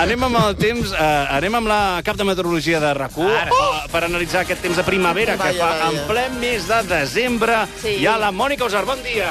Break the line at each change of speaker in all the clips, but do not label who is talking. Anem amb el temps, eh, anem amb la cap de meteorologia de rac oh! per analitzar aquest temps de primavera que
Vaya,
fa
vaya.
en ple mes de desembre.
Sí.
Hi ha la Mònica Osar, bon dia.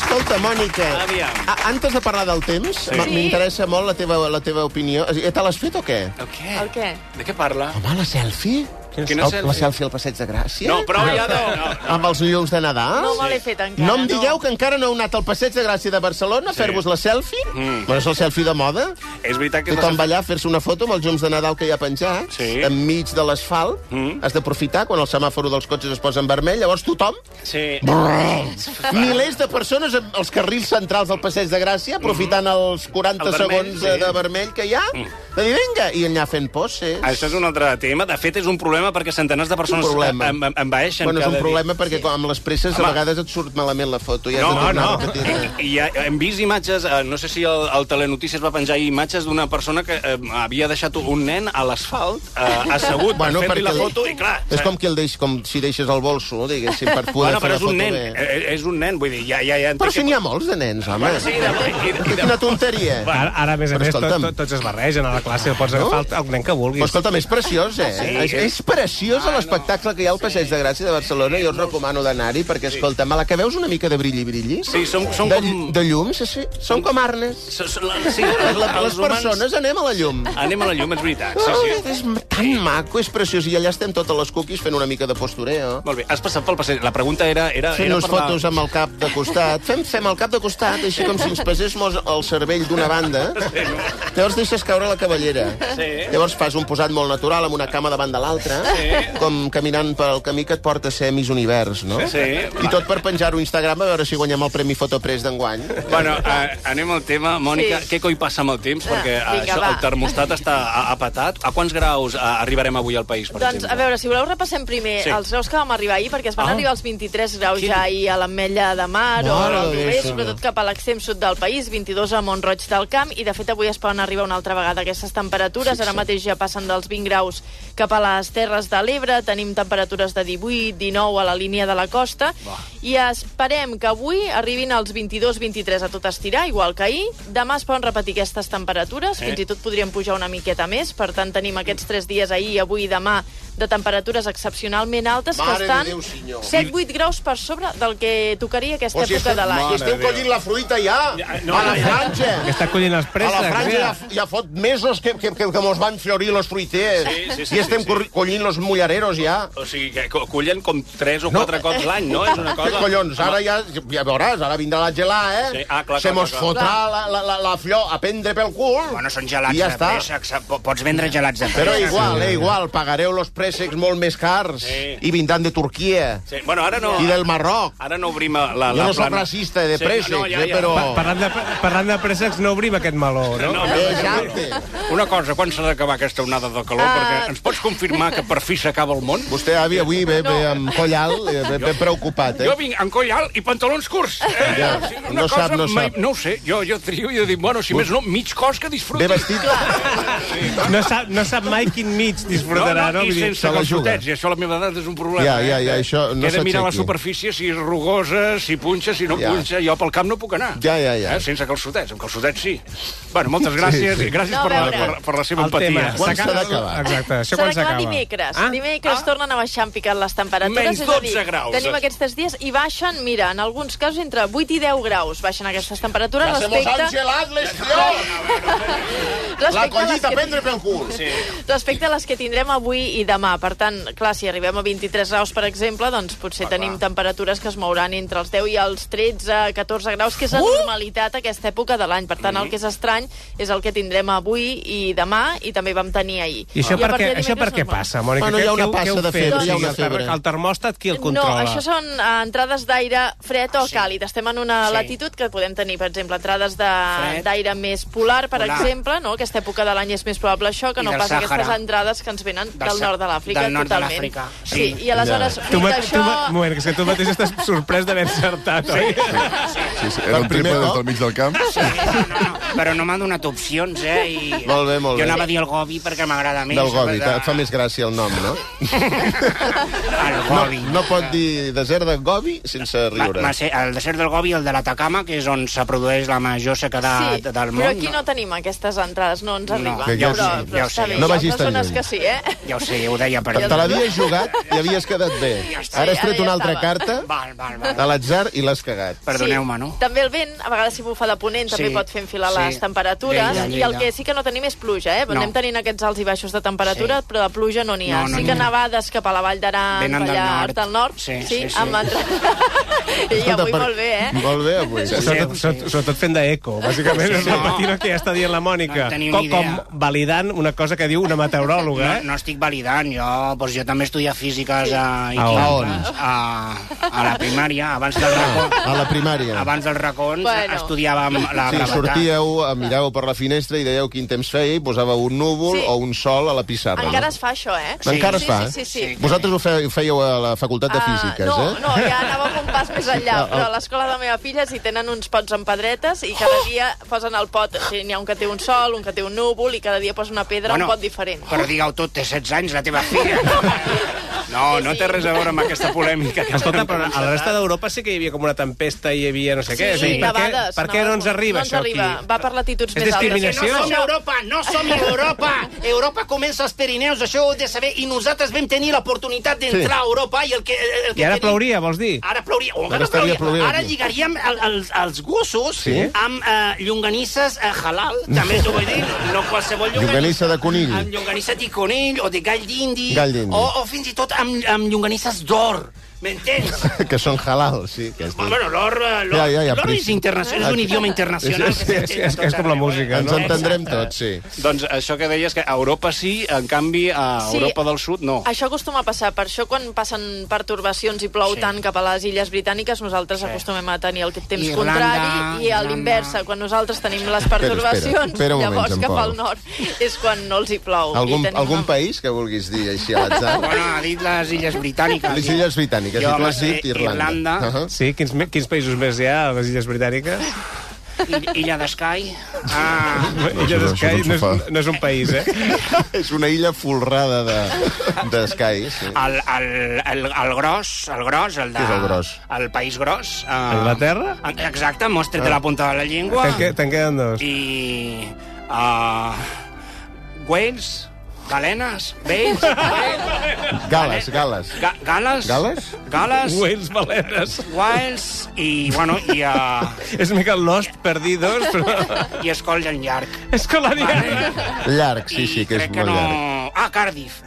Escolta, Mònica,
Aviam.
a- antes de parlar del temps, m- m'interessa molt la teva, la teva opinió. Eh, Te l'has fet o què?
El què?
El què?
De què parla?
Home, la selfie?
Quina
El-
selfie?
La selfie al Passeig de Gràcia?
No, prou ja de... No, no.
Amb els llums de Nadal?
No me l'he fet encara,
No em digueu
no.
que encara no heu anat al Passeig de Gràcia de Barcelona a fer-vos la selfie? Mm. Bueno, és el selfie de moda.
És veritat que... és la
Tothom
selfie-
va allà a fer-se una foto amb els llums de Nadal que hi ha penjats,
Sí.
enmig de l'asfalt. Mm. Has d'aprofitar quan el semàforo dels cotxes es posa en vermell. Llavors tothom
Sí.
Milers de persones amb els carrils centrals del Passeig de Gràcia, aprofitant els 40
Mm-hmm. El vermell,
segons
sí. Mm.
sí. de vermell que hi ha, de dir, vinga, i allà fent poses.
Ah, Això és un altre tema. De fet, és un problema perquè centenars de persones
problema.
em- em- envaeixen
Bueno, és
cada
un
dia.
problema perquè quan amb les presses
Home.
a vegades et surt malament la foto. I has de
No,
tornar
no,
a repetir-la.
I hi ha, hem vist imatges, eh, no sé si el, el Telenotícies va penjar ahir imatges d'una persona que eh, havia deixat un nen a l'asfalt, eh, assegut, bueno, per fer-li la foto, i clar... eh,
És com, que el deix, com si deixes el bolso, diguéssim, per poder
bueno,
fer
però
la
és un
foto
nen,
bé.
eh, és un nen, vull dir, ja... ja, ja entenc
Però si
que-
n'hi ha molts de nens, home.
Bueno, sí, de, i, i, de,
Quina tonteria.
Ara, ara, a més a
Però
més, tot,
escolta'm.
tot, tots es barregen a la classe, pots agafar el, el nen que
Però
vulguis.
escolta'm, és preciós, eh?
Sí. Ah,
Sí. És, és preciós l'espectacle que hi ha al Passeig de Gràcia de Barcelona. Jo us recomano d'anar-hi, perquè, escolta'm, a la que veus una mica de brilli-brilli...
Sí, som- som
de,
com-
De llum, sí, sí. Som com arnes.
so- so- la- sí,
Les,
la,
les persones anem a la llum.
Anem a la llum, és veritat.
Oh,
Sí, sí.
és tan maco, és preciós. I allà estem totes les cookies fent una mica de postureo.
Molt bé, has passat pel passeig. La pregunta era... era era
Fent-nos
per la-
fotos amb el cap de costat. Fem, fem el cap de costat, així com si ens pesés mos el cervell d'una banda. Llavors deixes caure la cabellera.
Sí.
Llavors fas un posat molt natural amb una cama davant de l'altra, com caminant pel camí que et porta a ser Miss Univers, no?
Sí.
I tot per penjar-ho a Instagram a veure si guanyem el Premi Fotopress d'enguany.
Bueno, eh, anem al tema, Mònica.
Sí. Ah,
Què coi passa amb el temps? Perquè eh,
vinga,
això,
va.
el termostat està a- apatat. A quants graus eh, arribarem avui al país, per
Doncs, a
exemple?
veure, si voleu, repassem primer
Sí.
sí. els graus que vam arribar ahir, perquè es van
Ah.
ah. arribar als 23 graus
Quin-
ja ahir a l'Ametlla de Mar o
Mare
al
de
Rovers,
Déu,
sobretot cap a l'extrem sud del país, 22 a Montroig del Camp, i de fet avui es poden arribar una altra vegada aquestes temperatures. Ara mateix ja passen dels 20 graus cap a les Terres de l'Ebre, tenim temperatures de 18, 19 a la línia de la costa, i esperem que avui arribin als 22-23 a tot estirar, igual que ahir. Demà es poden repetir aquestes temperatures,
Eh.
fins i tot podríem pujar una miqueta més, per tant tenim aquests tres dies ahir, avui i demà, de temperatures excepcionalment altes
Mare de
que estan
Déu, senyor.
7-8 graus per sobre del que tocaria aquesta
O si
època
esteu,
de l'any.
si esteu collint la fruita ja,
no,
a la
no, ja.
franja.
Que està collint eh? els
A la
préssecs.
Franja
mira.
ja, ja fot mesos que, que, que, que mos van florir los fruiters.
Sí, sí, sí,
I estem
sí, sí.
corri- collint los mullareros ja.
O sigui, que co- cullen com 3 o 4 cops l'any, no? És una
Què
cosa...
collons? Ara ja, ja veuràs, ara vindrà la gelà, eh?
Sí, ah, clar,
Se
clar,
mos
clar, clar.
fotrà la, la, la, la flor a prendre pel cul.
Bueno, són gelats
I ja
eh,
de
està. Mm.
préssecs. po- Pots vendre gelats de préssecs.
Però igual, eh, igual, pagareu los préssecs molt més cars
Sí.
i vindran de Turquia
Sí, bueno, ara no...
i del Marroc.
Ara no obrim la... la
Jo no soc
plana.
racista de
Sí,
préssecs,
no, ja,
eh,
ja.
però... Eh,
Pa- Parlant de, parlant de préssecs, no obrim aquest meló, no?
No, no,
Exacte.
Una cosa, quan s'ha d'acabar aquesta onada de calor?
Ah.
Perquè ens pots confirmar que per fi s'acaba el món?
Vostè, avi, avui ve, ve
No.
amb collal, eh, ve, ve preocupat, eh?
Jo vinc amb coll alt i pantalons curts. Eh,
Ja,
o sigui,
no sap, no
mai-
sap.
no ho sé, jo, jo trio i dic, bueno, si més no, mig cos que disfruti.
Ve vestit...
No sap, no sap mai quin mig disfrutarà,
no,
no?
no,
Vull
i
dir,
sense
se la juga.
calçotets, i això a la meva edat és un problema.
Ja, ja, ja,
eh?
això no
He de mirar la
s'aixequi.
superfície, si és rugosa, si punxa, si no
Ja.
punxa, jo pel camp no puc anar.
Ja, ja, ja.
Eh? Sense calçotets, amb calçotets sí. Bueno, moltes gràcies,
sí.
i gràcies
No,
per, la,
a veure.
per, per la seva
El tema...
empatia.
Quan
s'acaba-
s'ha d'acabar?
Exacte, això
S'ha
quan
d'acabar
s'acaba?
dimecres.
Ah?
Dimecres tornen a baixar en picat les temperatures.
Menys
és a dir,
12 graus.
Tenim aquests tres dies i baixen, mira, en alguns casos entre 8 i 10 graus baixen aquestes temperatures
Se mos han
respecte,
gelat les flors! La
respecte, a les
collita a
que,
prendre pel cul! Sí.
respecte a les que tindrem avui i demà. Per tant, clar, si arribem a 23 graus, per exemple, doncs potser tenim temperatures que es mouran entre els 10 i els 13, 14 graus, que és la
Uh!
normalitat a aquesta època de l'any. Per tant,
Mm.
el que és estrany és el que tindrem avui i demà i també vam tenir ahir.
I això,
a
per què,
partir de
això per
dimecres
què
normal.
passa, Mònica?
Bueno, hi ha
Què-
una
què heu- què
passa
heu
de
fet?
febre,
O sigui,
hi ha una
el ter-
febre.
El termòstat qui el controla?
No, això són eh, entrades entrades d'aire fred o sí. càlid. Estem en una
Sí.
sí. latitud que podem tenir, per exemple, entrades de-
Fred.
d'aire més polar, per
Polar.
exemple, no? aquesta època de l'any és més probable això, que
I
no
del
pas
Sàhara.
aquestes entrades que ens venen del,
Del Sa-
nord de l'Àfrica.
del nord de
totalment.
l'Àfrica.
Sí.
Sí.
sí, i aleshores,
Tu,
fruit
ma, tu,
d'això...
ma, moment, és que tu mateix estàs sorprès d'haver encertat, oi?
Sí, sí, era un
Doncs primer
triple des
cop.
del mig del camp.
No, no, però no m'ha donat opcions, eh? I...
Molt bé, molt bé.
Jo anava a dir el Gobi perquè m'agrada més. eh,
Del Gobi,
però-
et fa més gràcia el nom, no?
El Gobi.
No, no pot dir desert de Gobi sense
Ma-
riure.
ma- se- El desert del Gobi i el de l'Atacama, que és on se produeix la major sequedat
sí,
del món.
però aquí no tenim aquestes entrades, no ens
No,
arriba.
que ja
però,
sí,
però
ja ho
està
sé.
bé,
No
hi ha
vagis
unes
tan
zones
lluny.
que sí, eh?
Ja ho sé, ho deia per...
Te l'havies jugat i havies quedat bé. Ara has tret
ara ja
una altra
estava.
carta
Val, val,
a
val.
l'atzar i l'has cagat.
Perdoneu-me, no?
També el vent, a vegades si bufa de ponent,
Sí.
també pot fer enfilar
Sí.
les temperatures.
Lleida,
I el
Lleida.
que sí que no tenim és pluja, eh?
No.
No. Anem tenint aquests alts i baixos de temperatura,
Sí.
sí. però de pluja no n'hi ha.
No, no
sí
n'hi
que
ha.
nevades cap a la vall d'Aran,
Venen del
allà
nord.
del nord.
Sí, sí, sí.
Amb altra... I avui
Per-
molt bé, eh?
Molt bé, avui. Sí, sí.
Sobretot, sobretot, sobretot fent d'eco, bàsicament,
Sí,
sí,
sí.
sí. repetint el que ja està dient la Mònica.
No teniu
com,
ni
com
idea.
validant una cosa que diu una meteoròloga,
No,
eh?
no estic validant, jo, doncs jo també estudia físiques a, i
A on?
químiques a, a la primària, abans del racó.
A la primària.
Abans dels racons bueno.
Bueno.
estudiàvem la
Ah, Sí,
gravetat.
sortíeu, miràveu per la finestra i dèieu quin temps feia i posava un núvol
Sí.
o un sol a la pissarra.
Encara
no?
es fa això, eh?
Sí. Encara es
sí,
fa?
Sí, sí, sí.
Sí.
Vosaltres ho fe- fèieu a la Facultat de
Ah,
Físiques,
no,
eh?
No, ja anàvem un pas més enllà, però a l'escola de la meva filla s'hi tenen uns pots amb pedretes i cada
Oh!
dia posen el pot. O sigui, N'hi ha un que té un sol, un que té un núvol i cada dia posa una pedra bueno, un pot diferent.
Però digueu tot, té 16 anys, la teva filla. No, no té res a veure amb aquesta polèmica. Que
Escolta, però a la resta d'Europa sí que hi havia com una tempesta i hi havia no sé què.
Sí,
és a dir, per què,
nevades,
per què no ens
nevades.
arriba
no ens
això
arriba.
aquí?
Va per latituds
És
més altes.
discriminació.
No som
Això-
Europa, no som Europa. Europa comença als Pirineus, això ho heu de saber, e i nosaltres vam tenir l'oportunitat d'entrar a Europa i el que... El
E
que
I ara
tenim-
plauria, vols dir?
Ara plauria. Oh,
Ara estaria plovent
Ara
aquí.
lligaríem el, els, els gossos sí? amb eh, llonganisses eh, halal, també t'ho vull dir, no- no qualsevol llonganissa.
Llonganissa de conill.
Amb llonganissa de conill o de gall d'indi.
Gall d'indi.
O, o fins i tot amb, amb llonganisses d'or. M'entens?
Que són halal, sí. Aquestes.
Bueno, l'or eh, l'or-
Ja, ja, ja,
l'or
però-
és internacional, és un idioma internacional.
Sí, sí,
que
És, és,
s'entén a
que és
tot
com la
arreu, eh?
música,
Ens
no?
entendrem tots, sí.
Doncs això que deies, que a Europa sí, en canvi a
Sí.
Europa del Sud no.
Això acostuma a passar. Per això, quan passen pertorbacions i plou
Sí.
sí. tant cap a les illes britàniques, nosaltres
Sí.
sí. acostumem a tenir el temps
Irlanda,
contrari i a
Irlanda.
l'inversa. Quan nosaltres tenim les pertorbacions,
espera un moment,
llavors
en
cap
Pol.
al nord és quan no els hi plou.
Algun,
I tenim
algun
una-
país que vulguis dir així a l'atzar?
Bueno, ha dit les Illes Britàniques.
Les Illes Britàniques,
Jo,
i tu
home,
has dit
eh,
Irlanda.
Irlanda.
Ahà.
Sí, quins, me- quins països més hi ha a les Illes Britàniques?
I- Illa d'Escai. Ah,
Illes
no,
d'Escai
això
no,
no s'ho
és-
fa.
no és un país, eh?
És una illa folrada de, de Sky, sí.
el, el, el, el gros, el gros, el de...
Què és el gros?
El país gros. Uh,
Ah.
Anglaterra?
Exacte, mostra't
Ah.
la punta de la llengua.
Te'n que- te'n queden dos.
I... Uh, Wales, Galenes, Vells,
Gales, Gales.
Ga Gales,
Gales?
Gales,
Wales, balenes.
Wales i, bueno, i, uh,
És una mica lost perdidos, però...
i Escollen llarg.
És colonial.
Llarg,
I
sí, sí, que és
crec
molt
no...
llarg.
Ah, Cardiff.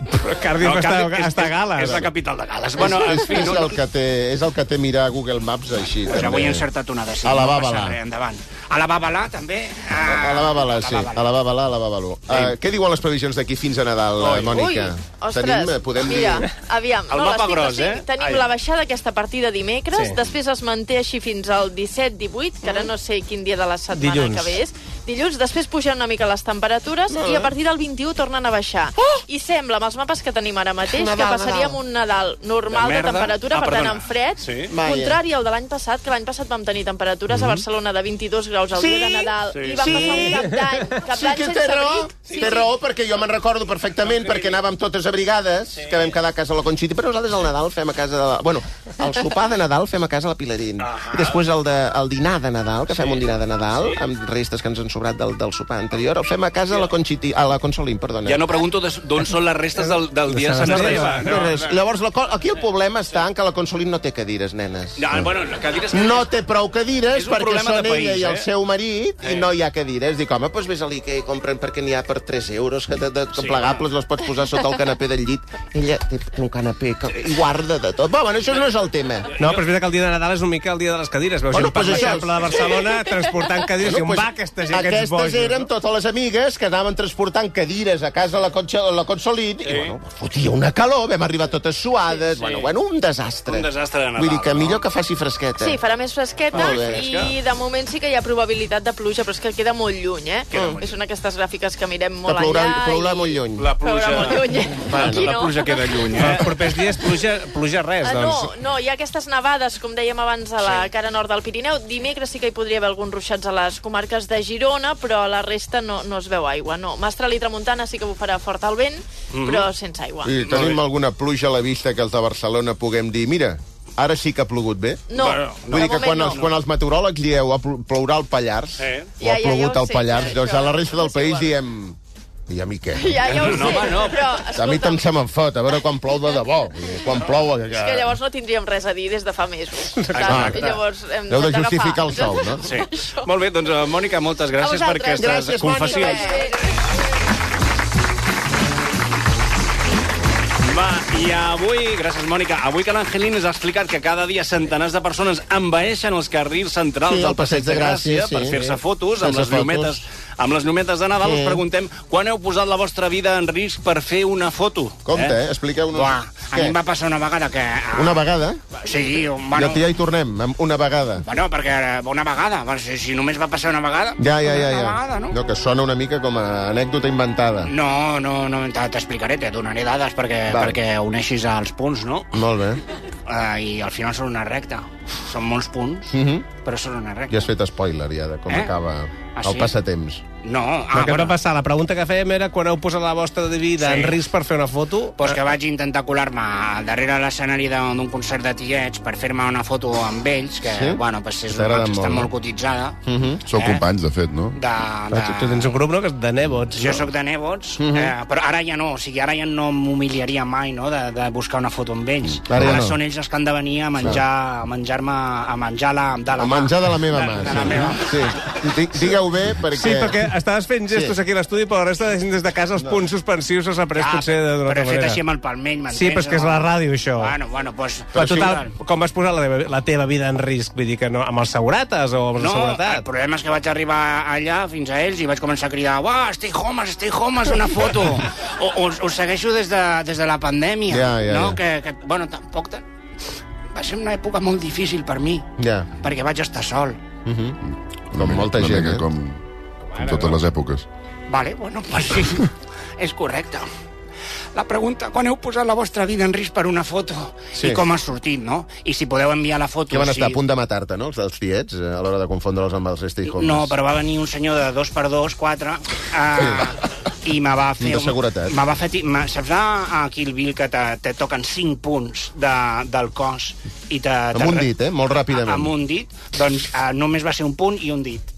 Però Cardiff no, està,
Cardiff
està a Gales.
És la capital de Gales. Bueno,
és,
en fi,
és,
no,
el que té, és el que té mirar Google Maps així.
Pues
també.
avui he encertat una de cinc.
A la
no passa
Bàbala.
res, Endavant. A la Bàbala, també. Ah,
A la Bàbala, sí. A la Bàbala, a la Bàbalo. Uh, què diuen les previsions d'aquí fins a Nadal, eh, Mònica?
Ui, ostres,
Tenim, eh, podem
mira,
dir...
aviam.
El mapa
les tinc,
gros,
o sigui,
eh?
Tenim
Ai.
la baixada aquesta partida dimecres,
Sí.
sí. després es manté així fins al 17-18,
Mm.
que ara no sé quin dia de la setmana
Dilluns.
que ve és. Dilluns, després pugen una mica les temperatures i a partir del 21 tornen a baixar. I sembla, amb els mapes que tenim ara mateix,
Oh! Nadal,
que passaríem un Nadal normal
De
de,
merda.
temperatura,
Ah,
per tant,
perdona.
en fred,
Sí. Mm.
Vaja.
contrari al de l'any passat, que l'any passat vam tenir temperatures a Barcelona de 22 graus el
Sí.
dia de Nadal
Sí.
i vam passar un cap d'any. Cap
Sí
d'any
que té
sense
raó,
abric.
té raó, perquè jo me'n recordo perfectament,
Ah,
perquè anàvem totes abrigades, que vam quedar a casa la Conxita, però nosaltres el Nadal fem a casa de la... Bueno, el sopar de Nadal fem a casa la Pilarín. I després el, de, el dinar de Nadal, que fem un dinar de Nadal, amb restes que ens han sobrat del, del sopar anterior, el fem a casa de la Conxiti, a la Consolín, perdona.
Ja no pregunto des- d'on són les restes del, del dia de Sant
Sant
Esteve.
Esteve.
No, res. Llavors, la, co- aquí el problema està en que la Consolín no té cadires, nenes.
No, Ah, bueno, que digues que...
No té prou cadires
És un
perquè
problema
són
de país,
ella i el
eh?
seu marit i no hi ha cadires. Dic, home, doncs vés a l'Ikea i compren perquè n'hi ha per 3 euros que de, de, que plegables les pots posar sota el canapé del llit. Ella té un canapé que hi guarda de tot. Però, bueno, això no és el tema.
No, però és veritat que el dia de Nadal és una mica el dia de les cadires. Veus
Bueno,
gent per
pues això és.
l'Eixample de Barcelona transportant cadires.
Bueno,
Diu,
pues
va, aquesta gent aquests
Aquestes
bojos,
eren
no?
totes les amigues que anaven transportant cadires a casa a la, Concha, a la Consolín i, bueno, fotia una calor, vam arribar totes suades, sí, sí. Bueno, bueno, un desastre.
Un desastre de Nadal,
Vull dir que
no?
millor que faci fresqueta.
Sí, farà més fresqueta
Molt bé.
i de moment sí que hi ha probabilitat de pluja, però és que queda molt lluny, eh?
Queda molt
Mm. Són aquestes gràfiques que mirem
que
molt
plourà,
enllà.
plourà
i-
molt lluny.
La
Plourà
pluja...
molt lluny. eh? Aquí
la
no.
pluja queda lluny, eh?
Els propers dies pluja, pluja res,
Ah,
doncs.
no, no, hi ha aquestes nevades, com dèiem abans, a la sí. cara nord del Pirineu. Dimecres sí que hi podria haver alguns ruixats a les comarques de Girona, però a la resta no, no es veu aigua, no. Mestral i tramuntana sí que bufarà fort el vent, mm -hmm. però sense aigua.
I tenim alguna pluja a la vista que els de Barcelona puguem dir, mira, ara sí que ha plogut bé?
No,
Bueno,
de
Vull dir que
moment
quan,
no.
els, quan els meteoròlegs dieu "Ha plo- plourà al Pallars,
Eh.
o ha
Ja, ja,
plogut
ja ho
al
sé,
Pallars,
ja,
doncs a
però
la resta del
és
país
igual.
diem... I a mi què?
Ja, ja ho
No,
sé,
home, no.
però
A mi tant
escolta'm,
se me'n fot, a veure quan plou de debò. Vull dir, Quan plou... eh, Que...
és que llavors no tindríem res a dir des de fa mesos.
Exacte.
I llavors hem
Heu de
d'agafar-
justificar el sol, no?
Sí. Molt bé, doncs, eh, Mònica, moltes gràcies
A
per
vosaltres.
aquestes
Gràcies, Mònica.
confessions. Va, i avui, gràcies Mònica, avui que l'Angelín ens ha explicat que cada dia centenars de persones envaeixen els carrils centrals
Sí,
del
el Passeig de Gràcia,
per
sí.
fer-se fotos amb
Fer-se
les,
fotos.
llumetes, amb les llumetes de Nadal.
Sí.
Us preguntem quan heu posat la vostra vida en risc per fer una foto.
Compte, eh? Expliqueu-nos...
Buah, a mi
Què?
em va passar una vegada que... eh,
Una vegada?
Sí, un-
I
bueno,
aquí ja hi tornem, amb una vegada.
bueno, perquè eh, una vegada, bueno, si, si només va passar una vegada...
Ja, ja, ja.
Una
ja.
vegada, no?
No, que sona una mica com a anècdota inventada.
No, no, no te- t'explicaré, te donaré dades perquè,
Val.
perquè uneixis els punts, no?
Molt bé.
Uh, I al final són una recta. Són molts punts, mm
Mhm.
-hmm. però són una recta.
Ja has fet spoiler, ja, de com
Eh?
acaba
Ah,
el
sí?
passatemps.
No,
Ah,
ah,
què va
bueno,
passar? La pregunta que fèiem era quan heu posat la vostra vida
Sí.
en risc per fer una foto.
Pues que vaig intentar colar-me al darrere de l'escenari d'un d'un concert de tiets per fer-me una foto amb ells, que,
Sí?
sí? bueno, pues és una
T'agrada
cosa que està
molt, no?
eh?
molt cotitzada. Mm -hmm.
Sou
Eh?
companys, de fet, no?
de, de...
Tu tens Mhm. un grup, no?, que és de nebots.
Jo sóc de Nebots, mm -hmm. eh, però ara ja no, o sigui, ara ja no m'humiliaria mai, no?, de, de buscar una foto amb ells.
Ara
Ara,
ja
ara
no.
no. són ells els que han de venir a menjar, a menjar-me, a menjar la, de la
A
mà.
menjar de la meva
De-
mà.
de la
sí.
meva.
Sí. Di- Digueu bé, perquè...
Eh,
Sí, perquè estaves fent gestos
Sí.
sí. aquí a l'estudi, però la resta de gent des de casa els no. punts suspensius s'ha après
Ah,
potser d'una
però
altra
he fet
manera.
així amb el palmell, m'entens?
Sí, però és que és la ràdio, això.
Bueno, bueno, doncs...
Però total, com vas posar la teva, la teva vida en risc? Vull dir que no, amb els segurates o amb la
No, el
seguretat?
problema és que vaig arribar allà fins a ells i vaig començar a cridar «Uah, stay homes, stay homes, una foto!» o, o, us segueixo des de, des de la pandèmia,
Ja, ja,
no?
ja.
Que, que, bueno, tampoc... tan- Va ser una època molt difícil per mi.
Ja,
perquè vaig estar sol.
com molta
una
gent,
mica
eh?
Com, com totes les èpoques.
Vale, bueno, pues sí, és correcte. La pregunta, quan heu posat la vostra vida en risc per una foto?
Sí.
Sí. I com ha sortit, no? I si podeu enviar la foto...
Que van
si-
estar a punt de matar-te, no?, els dels tiets, eh, a l'hora de confondre'ls amb els stay homes.
No, però va venir un senyor de dos per dos, quatre, uh, i me va fer...
De
un-
seguretat.
Me va fer... ti- Me, saps a Kill Bill que te, te toquen cinc punts de, del cos i te...
Amb un dit, eh? Molt ràpidament.
Amb un dit. Doncs uh, només va ser un punt i un dit.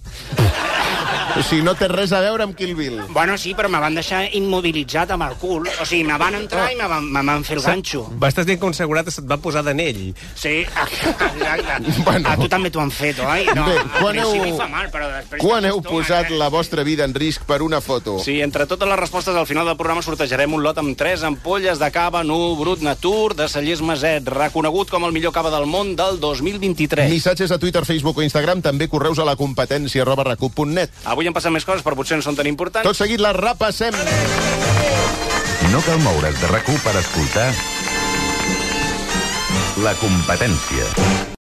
O sigui, no té res a veure amb Kill Bill.
Bueno, sí, però me van deixar immobilitzat amb el cul. O sigui, me van entrar i me van, me van fer el ganxo.
Bastes dient que un segurat se't va posar d'anell.
Sí, exacte.
Bueno.
Bueno. A tu també t'ho han fet, oi? No,
Bé, quan
Bé, quan al principi
heu-
fa mal, però després...
Quan heu
t'acostumes,
posat
eh?
la vostra vida en risc per una foto?
Sí, entre totes les respostes al final del programa sortejarem un lot amb tres ampolles de cava Nu Brut Natur de Cellers Maset, reconegut com el millor cava del món del 2023.
Missatges a Twitter, Facebook o Instagram, també correus a la competència arroba recup.net.
Avui han passat més coses, però potser no són tan importants.
Tot seguit les repassem.
No cal moure's de rac per escoltar la competència.